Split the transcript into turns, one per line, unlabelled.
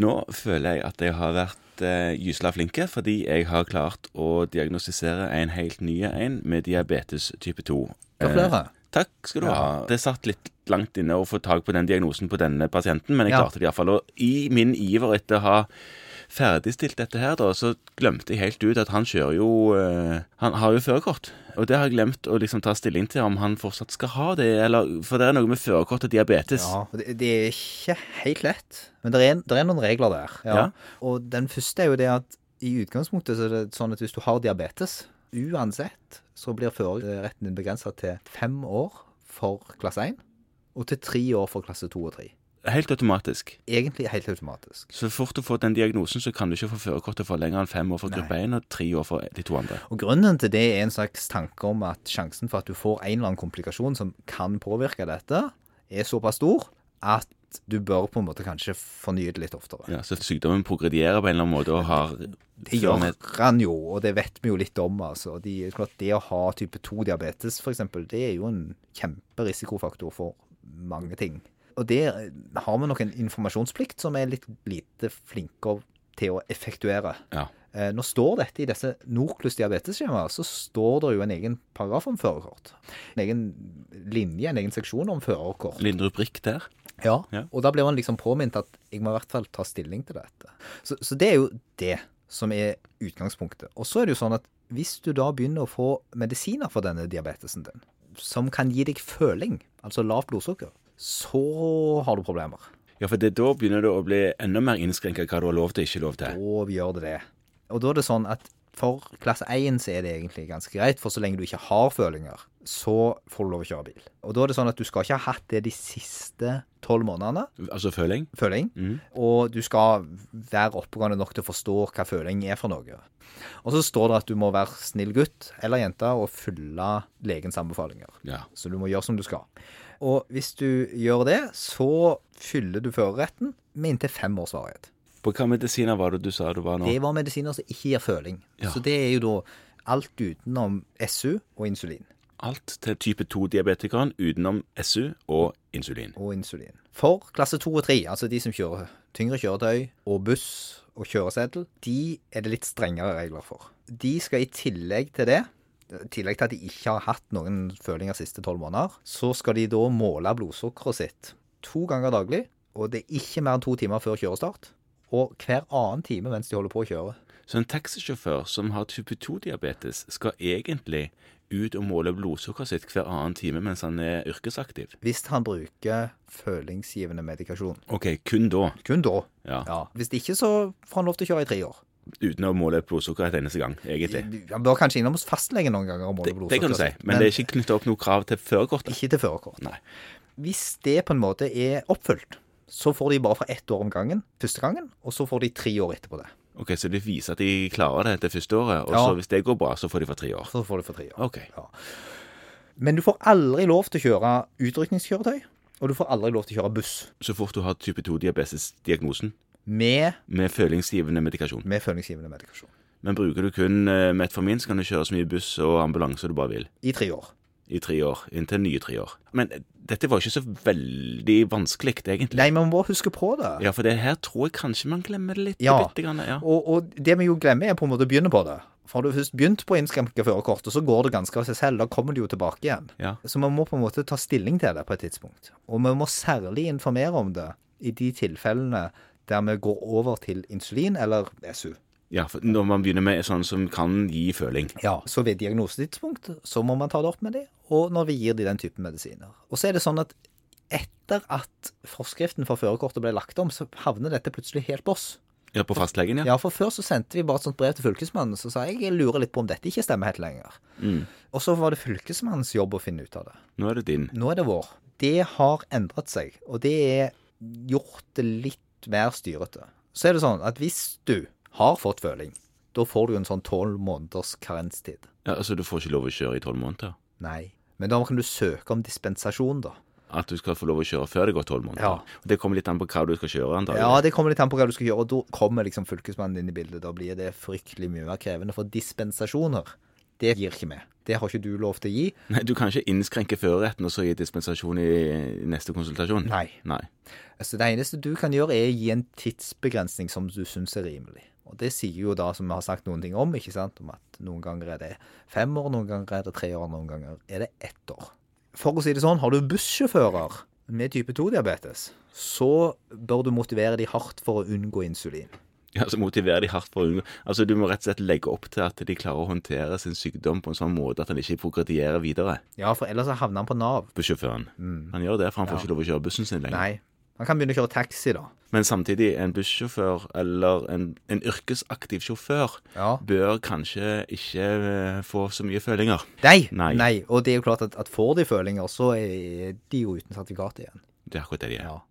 Nå føler jeg at jeg har vært eh, gysla flinke, fordi jeg har klart å diagnostisere en helt ny en med diabetes type 2.
Gratulerer.
Takk skal du ha. Det satt litt langt inne å få tak på den diagnosen på denne pasienten, men jeg
Ja.
klarte det iallfall. Og i min iver etter å ha ferdigstilt dette her, da, så glemte jeg helt ut at han kjører jo eh, Han har jo førerkort. Og det har jeg glemt å liksom ta stilling til, om han fortsatt skal ha det, eller For det er noe med førerkort og diabetes.
Ja, og det, det er ikke helt lett, men det er, det er noen regler der. Ja.
Ja.
Og den første er jo det at i utgangspunktet så er det sånn at hvis du har diabetes, uansett, så blir førerretten din begrensa til fem år for klasse 1, og til tre år for klasse 2 og 3.
Helt automatisk.
Egentlig helt automatisk.
Så fort du får den diagnosen, så kan du ikke få førerkortet for lenger enn fem år for gruppe 1 og tre år for de to andre.
Og grunnen til det er en slags tanke om at sjansen for at du får en eller annen komplikasjon som kan påvirke dette, er såpass stor at du bør på en måte kanskje fornye det litt oftere.
Ja, så sykdommen progredierer på en eller annen måte og har
Det gjør han jo, og det vet vi jo litt om. altså. De, det er klart, det å ha type 2-diabetes, f.eks., det er jo en kjemperisikofaktor for mange ting. Og der har vi nok en informasjonsplikt som er litt lite flinke til å effektuere.
Ja.
Eh, Nå står dette i disse Norklus diabetes-skjemaer, så står det jo en egen paragraf om førerkort. En egen linje, en egen seksjon om førerkort.
Liten rubrikk der.
Ja,
Ja.
og da blir man liksom påminnet at jeg må i hvert fall ta stilling til dette. Så, så det er jo det som er utgangspunktet. Og så er det jo sånn at hvis du da begynner å få medisiner for denne diabetesen din, som kan gi deg føling, altså lavt blodsukker, så har du problemer.
Ja, for det, da begynner det å bli enda mer innskrenka hva du har lov til og ikke lov til.
Og vi gjør det det. Og da er det sånn at for klasse 1 så er det egentlig ganske greit, for så lenge du ikke har følinger, så får du lov å kjøre bil. Og da er det sånn at du skal ikke ha hatt det de siste tolv månedene,
Altså føling.
føling.
Mm.
Og du skal være oppegående nok til å forstå hva føling er for noe. Og så står det at du må være snill gutt eller jente og følge legens anbefalinger.
Ja.
Så du må gjøre som du skal. Og hvis du gjør det, så fyller du førerretten med inntil fem års varighet.
På hvilke medisiner var det du sa du var nå?
Det var medisiner som ikke gir føling.
Ja.
Så det er jo da alt utenom SU og insulin.
Alt til type 2-diabetikeren utenom SU og insulin.
og insulin. For klasse 2 og 3, altså de som kjører tyngre kjøretøy og buss og kjøreseddel, de er det litt strengere regler for. De skal i tillegg til det, i tillegg til at de ikke har hatt noen følinger siste tolv måneder, så skal de da måle blodsukkeret sitt to ganger daglig, og det er ikke mer enn to timer før kjørestart, og hver annen time mens de holder på å kjøre.
Så en taxisjåfør som har type 2-diabetes, skal egentlig ut og måle blodsukkeret sitt hver annen time mens han er yrkesaktiv.
Hvis han bruker følingsgivende medikasjon.
OK, kun da.
Kun da.
Ja.
Ja. Hvis ikke, så får han lov til å kjøre i tre år.
uten å måle blodsukker et eneste gang, egentlig.
Han bør kanskje innom hos fastlegen noen ganger og måle
Det, det
blodsukker.
kan du si, men, det er ikke knytta opp noe krav til førerkortet.
ikke til førerkort.
Nei.
Hvis det på en måte er oppfylt, så får de bare fra ett år om gangen første gangen, og så får de tre år etterpå det.
Ok, Så de viser at de klarer det etter første året, og
Ja.
så hvis det går bra, så får de for tre år.
Så får de for tre år.
Ok.
Ja. Men du får aldri lov til å kjøre utrykningskjøretøy, og du får aldri lov til å kjøre buss
Så fort du har type 2-diabetes-diagnosen
med,
med følingsgivende medikasjon.
med følingsgivende medikasjon.
Men bruker du kun eh, metformin, så kan du kjøre så mye buss og ambulanse du bare vil.
I tre år.
I tre år. Inntil nye tre år. Men eh, dette var ikke så veldig vanskelig, egentlig.
Nei, men man må huske på det.
Ja, for det her tror jeg kanskje man glemmer det litt.
Ja.
bitte grann, ja.
Og, og det vi jo glemmer, er på en måte å begynne på det. For har du først begynt på å innskrenke førerkortet, så går det ganske av seg selv. Da kommer det jo tilbake igjen.
Ja.
Så man må på en måte ta stilling til det på et tidspunkt. Og vi må særlig informere om det i de tilfellene der vi går over til insulin eller SU.
ja, for når man begynner med sånn som kan gi føling.
Ja, Så ved diagnosetidspunkt så må man ta det opp med dem, og når vi gir dem den typen medisiner. Og så er det sånn at etter at forskriften for førerkortet ble lagt om, så havner dette plutselig helt på oss.
Ja, på fastlegen, ja.
Ja, for før så sendte vi bare et sånt brev til fylkesmannen som sa jeg lurer litt på om dette ikke stemmer helt lenger. Og så var det fylkesmannens jobb å finne ut av det.
Nå er det din.
Nå er det vår. Det har endret seg, og det er gjort det litt mer styrete. Så er det sånn at hvis du har fått føling, da får du en sånn tolv måneders karenstid.
Ja, altså Du får ikke lov å kjøre i tolv måneder?
Nei. Men da kan du søke om dispensasjon, da.
At du skal få lov å kjøre før det går tolv måneder?
Ja.
Og Det kommer litt an på hva du skal kjøre, antagelig.
Ja, det kommer litt an på hva du skal gjøre, og da kommer liksom fylkesmannen inn i bildet. Da blir det fryktelig mye mer krevende, for dispensasjoner, Det gir ikke vi. Det har ikke du lov til å gi.
Nei, Du kan ikke innskrenke førerretten og så gi dispensasjon i neste konsultasjon.
Nei.
Nei.
Så Altså, det eneste du kan gjøre, er å gi en tidsbegrensning som du syns er rimelig. Og det sier jo da, som vi har sagt noen ting om, ikke sant, om at noen ganger er det fem år, noen ganger er det tre år, noen ganger er det ett år. For å si det sånn, har du bussjåfører med type 2-diabetes, så bør du motivere de hardt for å unngå insulin.
Ja, så motiverer de hardt for å unngå Altså, Du må rett og slett legge opp til at de klarer å håndtere sin sykdom på en sånn måte at han ikke progredierer videre.
Ja, for ellers så havner han på Nav.
Bussjåføren. Han gjør det, for han får ikke lov å kjøre bussen sin lenger.
Mm. Nei. Han kan begynne å kjøre taxi, da.
Men samtidig, en bussjåfør eller en, en yrkesaktiv sjåfør
Ja.
bør kanskje ikke eh, få så mye følinger.
Nei!
Nei.
Og det er jo klart at, at får de følinger, så er de jo uten sertifikat igjen.
Det er akkurat det de er.
Ja.